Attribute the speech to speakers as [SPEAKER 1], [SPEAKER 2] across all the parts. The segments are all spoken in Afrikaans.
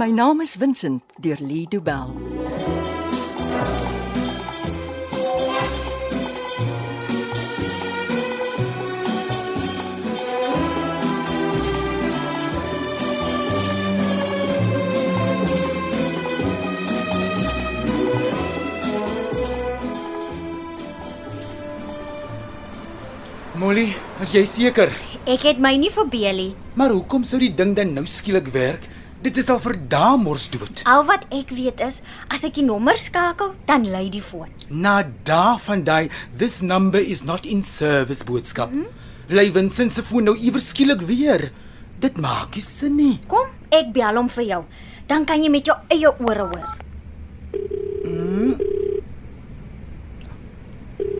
[SPEAKER 1] My naam is Vincent deur Lee Du Bell.
[SPEAKER 2] Molly, as jy seker.
[SPEAKER 3] Ek het my nie verbeel nie.
[SPEAKER 2] Maar hoekom sou die ding dan nou skielik werk? Dit is al vir dae mors dood.
[SPEAKER 3] Al wat ek weet is, as ek die nommer skakel, dan lui die foon.
[SPEAKER 2] Na dae van daai this number is not in service boodskap. Mm -hmm. Lei Vincent se foon nou iewers skielik weer. Dit maak nie sin nie.
[SPEAKER 3] Kom, ek bel hom vir jou. Dan kan jy met jou eie ore hoor.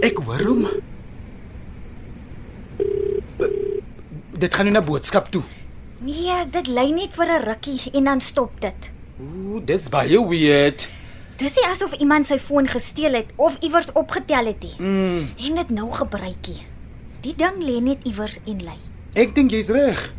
[SPEAKER 2] Ek hoor hom. B- Dit gaan nou na boodskap toe.
[SPEAKER 3] Nee, dit lui net vir 'n rukkie en dan stop dit.
[SPEAKER 2] Ooh, dis baie weird.
[SPEAKER 3] Dis nie asof iemand sy foon gesteel het of iewers opgetel het nie. Mm. En dit nou gebruikie. Die ding lê net iewers en lui.
[SPEAKER 2] Ek dink jy's reg.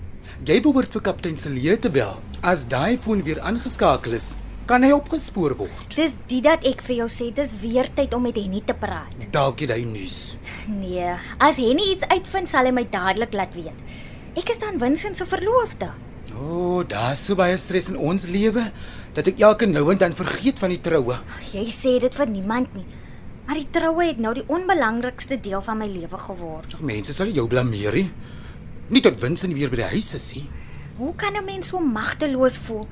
[SPEAKER 2] Jy behoort vir kaptein Cele te bel. As daai foon weer aangeskakel is, kan hy opgespoor word.
[SPEAKER 3] Dis dit dat ek vir jou sê, dis weer tyd om met Henny te praat.
[SPEAKER 2] Dalk het hy nuus.
[SPEAKER 3] Nee, as Henny iets uitvind, sal hy my dadelik laat weet. Ek is dan Vincent se verloofde.
[SPEAKER 2] O, oh, daar's so baie stres in ons lewe dat ek elke nou en dan vergeet van die troue.
[SPEAKER 3] Jy sê dit vir niemand nie. Maar die troue het nou die onbelangrikste deel van my lewe geword.
[SPEAKER 2] Tog mense sal jou blameer nie. Nie dat Winsin weer by die huis is nie.
[SPEAKER 3] Hoe kan 'n mens so magteloos voel?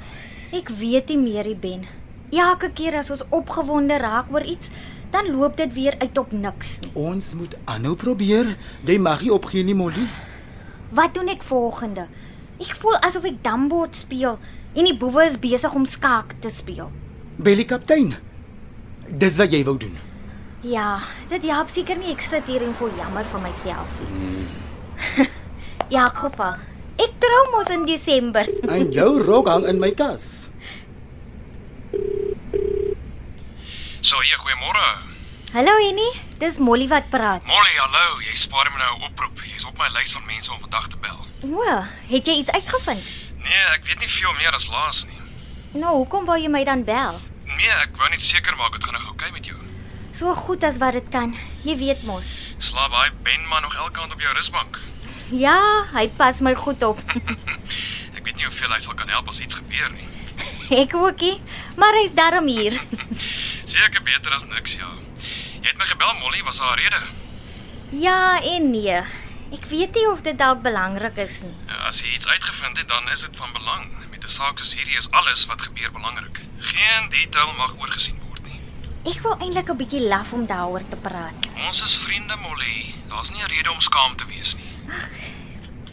[SPEAKER 3] Ek weet nie meer, nie, Ben. Elke keer as ons opgewonde raak oor iets, dan loop dit weer uit op niks. nie.
[SPEAKER 2] Ons moet aanhou probeer. Jy mag nie opgee nie, Molly.
[SPEAKER 3] Wat doen ek volgende? Ek voel asof ek dambord speel en die boewe is besig om skaak te speel.
[SPEAKER 2] Bel die kaptein. Dis wat jy wou doen.
[SPEAKER 3] Ja, dit help seker nie ek sit hier en voel jammer vir myself nie. ja, Koppa. Ek trou mos in Desember.
[SPEAKER 2] En jou rok hang in my kas.
[SPEAKER 4] So hier, goeiemôre.
[SPEAKER 3] Hallo Annie, dis Molly wat praat.
[SPEAKER 4] Molly, hallo. Jy spaar my nou 'n oproep. Jy's op my lys van mense om vandag te bel.
[SPEAKER 3] O, het jy iets uitgevind?
[SPEAKER 4] Nee, ek weet nie veel meer as laas nie.
[SPEAKER 3] Nou, hoekom wou jy my dan bel?
[SPEAKER 4] Nee, ek wou net seker maak dit gaan nog oukei met jou.
[SPEAKER 3] So goed as wat dit kan. Jy weet mos.
[SPEAKER 4] Slaap hy Ben maar nog elke aand op jou rusbank.
[SPEAKER 3] Ja, hy pas my goed op.
[SPEAKER 4] Ek weet nie hoeveel hy sal kan help as iets gebeur nie.
[SPEAKER 3] ek ookie, maar hy's darm hier.
[SPEAKER 4] Seker beter as niks, ja. Jy het my gebel, Molly, was daar 'n rede?
[SPEAKER 3] ja en nee. Ek weet nie of dit dalk belangrik is nie.
[SPEAKER 4] As jy iets uitgevind het, dan is dit van belang. Met 'n saak soos hierdie is alles wat gebeur belangrik. Geen detail mag oorgesien word nie.
[SPEAKER 3] Ek wou eintlik 'n bietjie laf om daaroor te praat.
[SPEAKER 4] Ons is vriende, Molly. Daar's nie 'n rede om skaam te wees nie.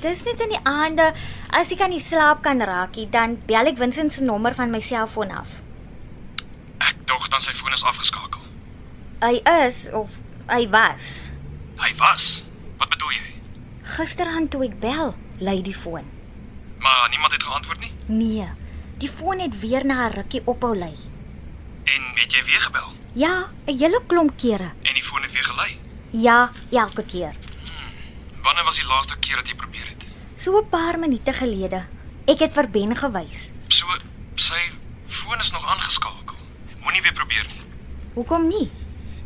[SPEAKER 3] Dis net in die aande as ek aan die slaap kan raakie, dan bel ek Vincent se nommer van my selfoon af.
[SPEAKER 4] Ek dog dan sy foon is afgeskakel.
[SPEAKER 3] Hy is of hy was
[SPEAKER 4] Hy was. Wat bedoel jy?
[SPEAKER 3] gisteraand toe ek bel, lui die foon.
[SPEAKER 4] Maar niemand het geantwoord nie.
[SPEAKER 3] Nee, die foon het weer na 'n rukkie ophou lui.
[SPEAKER 4] En het jy weer gebel?
[SPEAKER 3] Ja, 'n hele klomp kere.
[SPEAKER 4] En die foon het weer gelei.
[SPEAKER 3] Ja, elke keer.
[SPEAKER 4] Wanneer was die laaste keer dat jy probeer het?
[SPEAKER 3] So 'n paar minute gelede. Ek het vir Ben gewys.
[SPEAKER 4] So sy foon is nog aangeskakel. Moenie weer probeer nie.
[SPEAKER 3] Hoekom nie?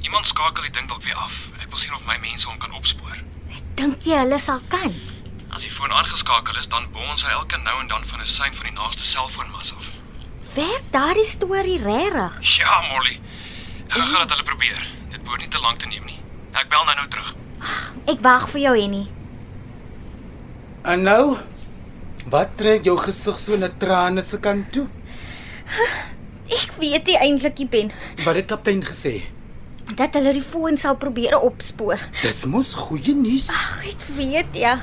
[SPEAKER 4] Iemand skakel die ding dalk weer af. Ek wil sien of my mense hom kan opspoor.
[SPEAKER 3] Dink jy hulle sal kan?
[SPEAKER 4] As die foon aangeskakel is, dan bons hy elke nou en dan van 'n sein van die naaste selfoonmas af.
[SPEAKER 3] Werk daardie storie regtig?
[SPEAKER 4] Ja, Molly. Ek gaan dit hulle probeer. Dit behoort nie te lank te neem nie. Ek bel nou-nou terug.
[SPEAKER 3] Ek wag vir jou, Henny.
[SPEAKER 2] En nou, wat trek jou gesig so na trane se kant toe?
[SPEAKER 3] Ek weet nie eintlik, jy Ben,
[SPEAKER 2] Wat het kaptein gesê?
[SPEAKER 3] dat hulle die foon sal probeer opspoor.
[SPEAKER 2] Dis mos goeie nuus.
[SPEAKER 3] Ag, ek weet ja.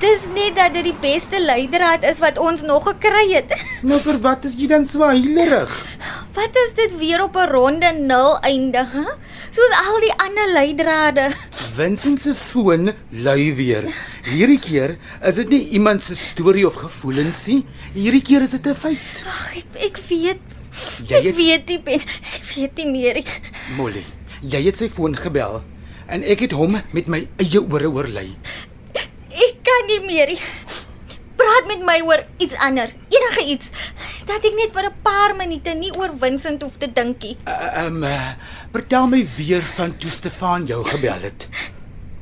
[SPEAKER 3] Dis net dat dit die beste leidraad is wat ons nog gekry het.
[SPEAKER 2] Nou vir wat is jy dan so heilerig?
[SPEAKER 3] Wat is dit weer op 'n ronde 0 eindig, hè? Soos al die ander leidrade.
[SPEAKER 2] Vincent se foon lui weer. Hierdie keer is dit nie iemand se storie of gevoelens nie. Hierdie keer is dit 'n feit.
[SPEAKER 3] Ag, ek ek weet.
[SPEAKER 2] Jy
[SPEAKER 3] ek
[SPEAKER 2] het-
[SPEAKER 3] weet nie, Ben. Ek weet nie meer. nie.
[SPEAKER 2] Molly, jy het sy foon gebel en ek het hom met my eie ore oorlei.
[SPEAKER 3] Ek kan nie meer. nie. Praat met my oor iets anders, enige iets. dat ek net vir 'n paar minute nie oor Vincent hoef te dinkie.
[SPEAKER 2] Ehm, uh, vertel my weer van toe Stefan jou gebel het.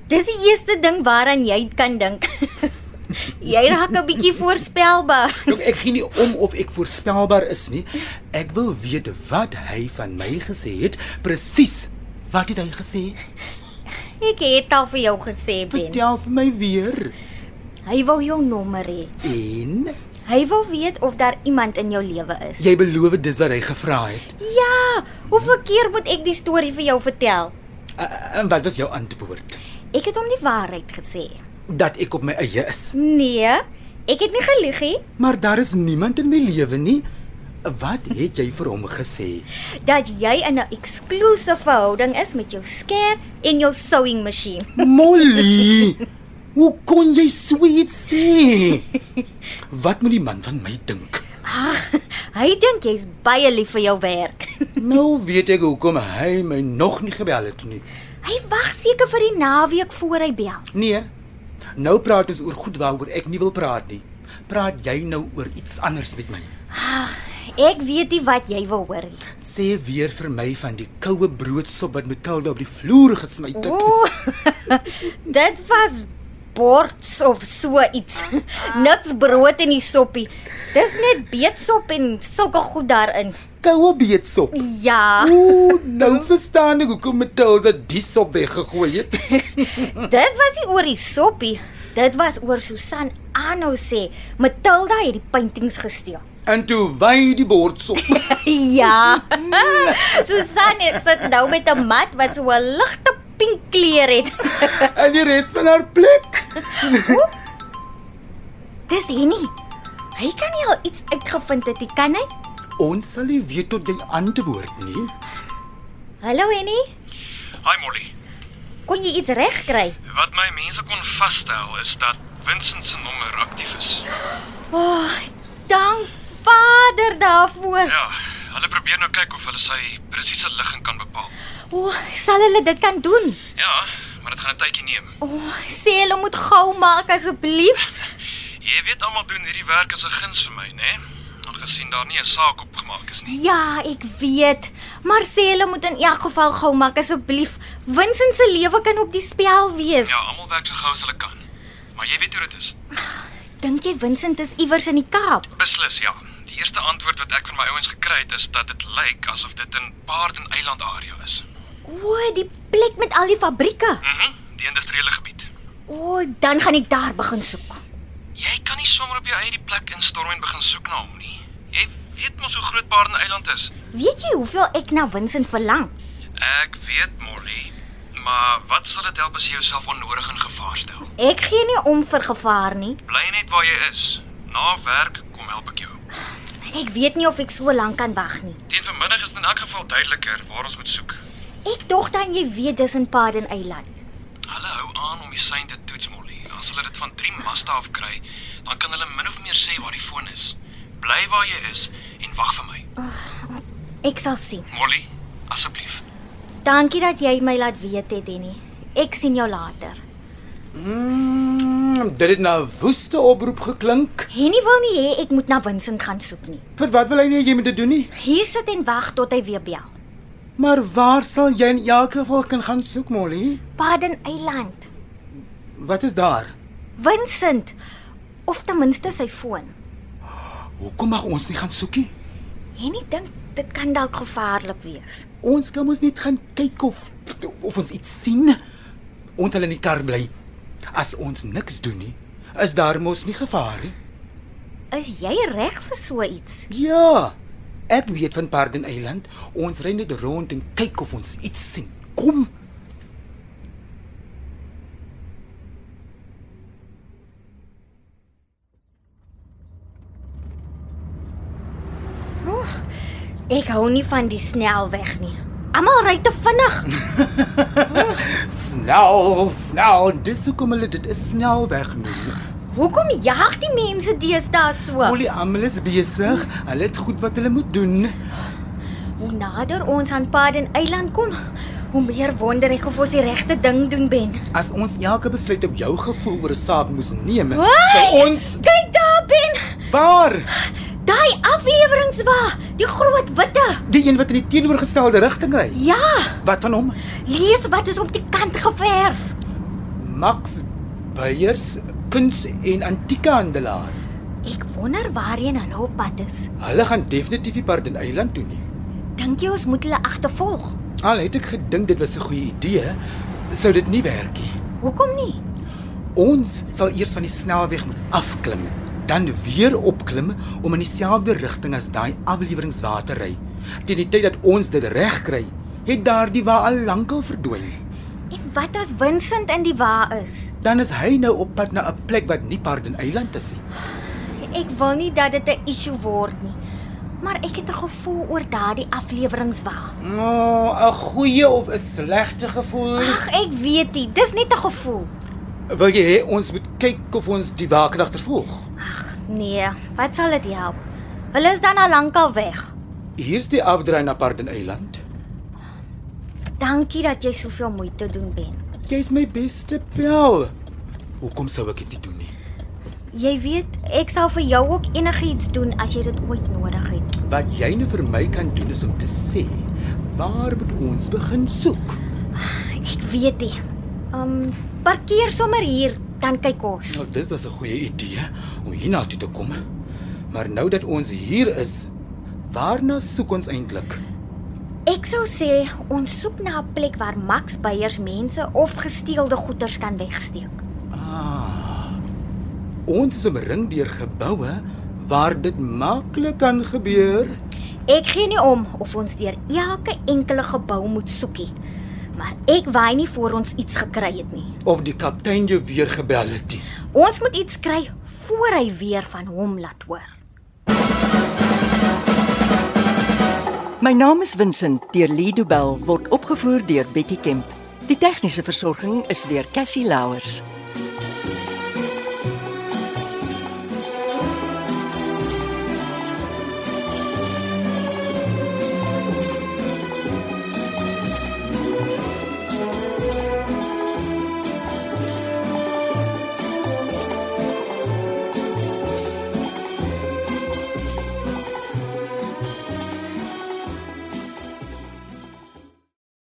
[SPEAKER 3] Dis die eerste ding waaraan jy kan dink. jy raak 'n bietjie voorspelbaar.
[SPEAKER 2] Nou ek gee nie om of ek voorspelbaar is nie. Ek wil weet wat hy van my gesê het. Presies. Wat het hy gesê?
[SPEAKER 3] Ek het al vir jou gesê, Ben.
[SPEAKER 2] Vertel vir my weer.
[SPEAKER 3] Hy wil jou nommer hê.
[SPEAKER 2] En
[SPEAKER 3] Hy wil weet of daar iemand in jou lewe is.
[SPEAKER 2] jy beloof dis wat hy gevra het.
[SPEAKER 3] Ja, hoe verkeer moet ek die storie vir jou vertel?
[SPEAKER 2] Uh, En wat was jou antwoord?
[SPEAKER 3] Ek het hom die waarheid gesê.
[SPEAKER 2] Dat ek op my eie is.
[SPEAKER 3] Nee, ek het nie gelieg nie
[SPEAKER 2] Maar daar is niemand in my lewe nie. Wat het jy vir hom gesê?
[SPEAKER 3] dat jy in 'n eksklusiewe verhouding is met jou skeer en jou sewing masjien.
[SPEAKER 2] Molly, hoe kon jy so iets sê? Wat moet die man van my dink?
[SPEAKER 3] Ag, hy dink jy's baie lief vir jou werk.
[SPEAKER 2] Nou weet ek hoekom hy my nog nie gebel het nie.
[SPEAKER 3] Hy wag seker vir die naweek voor hy bel.
[SPEAKER 2] Nee. Nou praat ons oor goed waaroor ek nie wil praat nie. Praat jy nou oor iets anders met my?
[SPEAKER 3] Ag, ek weet nie wat jy wil hoor nie.
[SPEAKER 2] Sê weer vir my van die koue broodsop wat Matilda op die vloer gesny het.
[SPEAKER 3] Ooh, dit was bords of so iets. Niks brood in die soppie. Dis net beetsop en sulke goed daarin.
[SPEAKER 2] Koue beetsop.
[SPEAKER 3] Ja,
[SPEAKER 2] Ooh, nou verstaan ek hoekom Matilda die sop weggegooi het.
[SPEAKER 3] dit was nie oor die soppie. Dit was oor Susan Anno sê Matilda het die paintings gesteel.
[SPEAKER 2] En toe wy die bordsop.
[SPEAKER 3] Ja. Susan het sit nou met 'n mat wat so 'n ligte pink kleur het.
[SPEAKER 2] en die res van haar plek.
[SPEAKER 3] Dis Henny. Hy kan nie al iets uitgevind het nie, kan hy?
[SPEAKER 2] Ons sal nie weet tot jy antwoord nie.
[SPEAKER 3] Hallo Henny,
[SPEAKER 4] Hi Molly.
[SPEAKER 3] kon jy iets regkry?
[SPEAKER 4] Wat my mense kon vasstel is dat Vincent se nommer aktief is.
[SPEAKER 3] O, oh, dank Vader daarvoor.
[SPEAKER 4] Ja, hulle probeer nou kyk of hulle sy presiese ligging kan bepaal.
[SPEAKER 3] O, oh, sal hulle dit kan doen?
[SPEAKER 4] Ja, maar dit gaan 'n tydjie neem.
[SPEAKER 3] O, oh, sê hulle moet gou maak asseblief.
[SPEAKER 4] Jy weet almal doen hierdie werk as 'n guns vir my, né? Nee? Aangesien daar nie 'n saak opgemaak is nie.
[SPEAKER 3] Ja, ek weet, maar sê hulle moet in elk geval gou maak asseblief. Vincent se lewe kan op die spel wees.
[SPEAKER 4] Ja, almal werk so gou as hulle kan. Maar jy weet hoe dit is.
[SPEAKER 3] Dink jy Vincent is iewers in die Kaap?
[SPEAKER 4] Beslis ja. Die eerste antwoord wat ek van my ouens gekry het is dat dit lyk asof dit in Paardeneiland area is.
[SPEAKER 3] O, die plek met al die fabrieke.
[SPEAKER 4] Mhm, mm die industriële gebied.
[SPEAKER 3] O, dan gaan ek daar begin soek.
[SPEAKER 4] Jy kan nie sommer op jou eie die plek instorm en begin soek na hom nie. Jy weet mos hoe groot Paardeneiland is.
[SPEAKER 3] Weet jy hoeveel ek na Vincent verlang?
[SPEAKER 4] Ek weet, Molly, maar wat sal dit help as jy jouself onnodig in gevaar stel?
[SPEAKER 3] Ek gee nie om vir gevaar nie.
[SPEAKER 4] Bly net waar jy is. Na werk kom help ek jou.
[SPEAKER 3] Ek weet nie of ek so lank kan wag nie.
[SPEAKER 4] Teen vanmiddag is dit in elk geval duideliker waar ons moet soek.
[SPEAKER 3] Ek dog dan jy weet dis in Paden Eiland.
[SPEAKER 4] Hulle hou aan om die sein te toets, Molly. As hulle dit van 3 maste af kry, dan kan hulle min of meer sê waar die foon is. Bly waar jy is en wag vir my.
[SPEAKER 3] Ek sal sien.
[SPEAKER 4] Molly, asseblief.
[SPEAKER 3] Dankie dat jy my laat weet het, Henny. Ek sien jou later.
[SPEAKER 2] Mm, dit het na 'n woeste oproep geklink.
[SPEAKER 3] Henny wil nie hê ek moet na Vincent gaan soek nie.
[SPEAKER 2] Vir wat wil hy nie jy moet dit doen nie?
[SPEAKER 3] Hier sit en wag tot hy weer bel.
[SPEAKER 2] Maar waar sal jy in elk geval kan gaan soek, Molly?
[SPEAKER 3] Paden Eiland.
[SPEAKER 2] Wat is daar?
[SPEAKER 3] Vincent of ten minste sy foon.
[SPEAKER 2] Hoekom mag ons nie gaan soekie?
[SPEAKER 3] Henny dink dit kan dalk gevaarlik wees.
[SPEAKER 2] Ons kan mos net gaan kyk of of ons iets sien. Ons sal in die kar bly. As ons niks doen nie, is daar mos nie gevaar nie.
[SPEAKER 3] Is jy reg vir so iets?
[SPEAKER 2] Ja. Ek weet van Paardeneiland. Ons ry net rond en kyk of ons iets sien. Kom.
[SPEAKER 3] Ek hou nie van die snelweg nie. Almal ry te vinnig.
[SPEAKER 2] Snel, snel. Dis hoekom hulle dit 'n snelweg noem.
[SPEAKER 3] Hoekom jag die mense deesdae so?
[SPEAKER 2] Olie almal is besig. Hulle het goed wat hulle moet doen.
[SPEAKER 3] Hoe nader ons aan Paden Eiland kom, hoe meer wonder ek of ons die regte ding doen, Ben.
[SPEAKER 2] As ons elke besluit op jou gevoel oor 'n saak moes neem,
[SPEAKER 3] Hoi!
[SPEAKER 2] sal ons
[SPEAKER 3] Kyk daar, Ben.
[SPEAKER 2] waar?
[SPEAKER 3] Daai aflewering swa, die groot witte.
[SPEAKER 2] Die een wat in die teenoorgestelde rigting ry.
[SPEAKER 3] Ja,
[SPEAKER 2] Wat van hom?
[SPEAKER 3] lees wat is op die kant geverf.
[SPEAKER 2] Max Beyers, kuns- en antiekhandelaar.
[SPEAKER 3] Ek wonder waarheen hulle op pad is.
[SPEAKER 2] Hulle gaan definitief die Pardyneiland toe nie.
[SPEAKER 3] Dink jy ons moet hulle agtervolg?
[SPEAKER 2] Al het ek gedink dit was 'n goeie idee, sou dit nie werk nie.
[SPEAKER 3] Hoekom nie?
[SPEAKER 2] Ons sal eers van die snelweg moet afklim, dan weer opklim om in dieselfde rigting as daai afleweringswater ry. Teen die tyd dat ons dit reg kry, het daardie wa al lankal verdwyn.
[SPEAKER 3] En wat as Vincent in die wa is?
[SPEAKER 2] Dan is hy nou op pad na 'n plek wat nie Pardyneiland is nie.
[SPEAKER 3] Ek wil nie dat dit 'n issue word nie. Maar ek het 'n gevoel oor daardie afleweringswa.
[SPEAKER 2] Nou, 'n goeie of 'n slegte gevoel?
[SPEAKER 3] Ag, ek weet nie, dis net 'n gevoel.
[SPEAKER 2] Wil jy hê ons moet kyk of ons die waker agtervolg?
[SPEAKER 3] Ag, nee, wat sal dit help? Hulle is dan al lankal weg.
[SPEAKER 2] Hier's die afdraai na Pardyneiland.
[SPEAKER 3] Dankie dat jy soveel moeite doen, Ben.
[SPEAKER 2] Jy's my beste pel. Hoekom sou ek dit nie doen nie?
[SPEAKER 3] Jy weet, ek sal vir jou ook enigiets doen as jy dit ooit nodig het.
[SPEAKER 2] Wat jy nou vir my kan doen is om te sê, waar moet ons begin soek?
[SPEAKER 3] Ek weet nie. Um, parkeer sommer hier, dan kyk ons.
[SPEAKER 2] Nou dis was 'n goeie idee om hiernatoe te kom. Maar nou dat ons hier is, waarna soek ons eintlik?
[SPEAKER 3] Ek sou sê ons soek na 'n plek waar Max Beyers mense of gesteelde goeder kan wegsteek.
[SPEAKER 2] Ah. Ons is omring deur geboue waar dit maklik kan gebeur.
[SPEAKER 3] Ek gee nie om of ons deur elke enkele gebou moet soekie. Maar ek waai nie voor ons iets gekry het nie.
[SPEAKER 2] Of die kaptein jou weer gebel het. nie.
[SPEAKER 3] Ons moet iets kry voor hy weer van hom laat hoor.
[SPEAKER 1] My naam is Vincent deur Lido Bell word opgevoer deur Betty Kemp. Die tegniese versorging is deur Cassie Louers.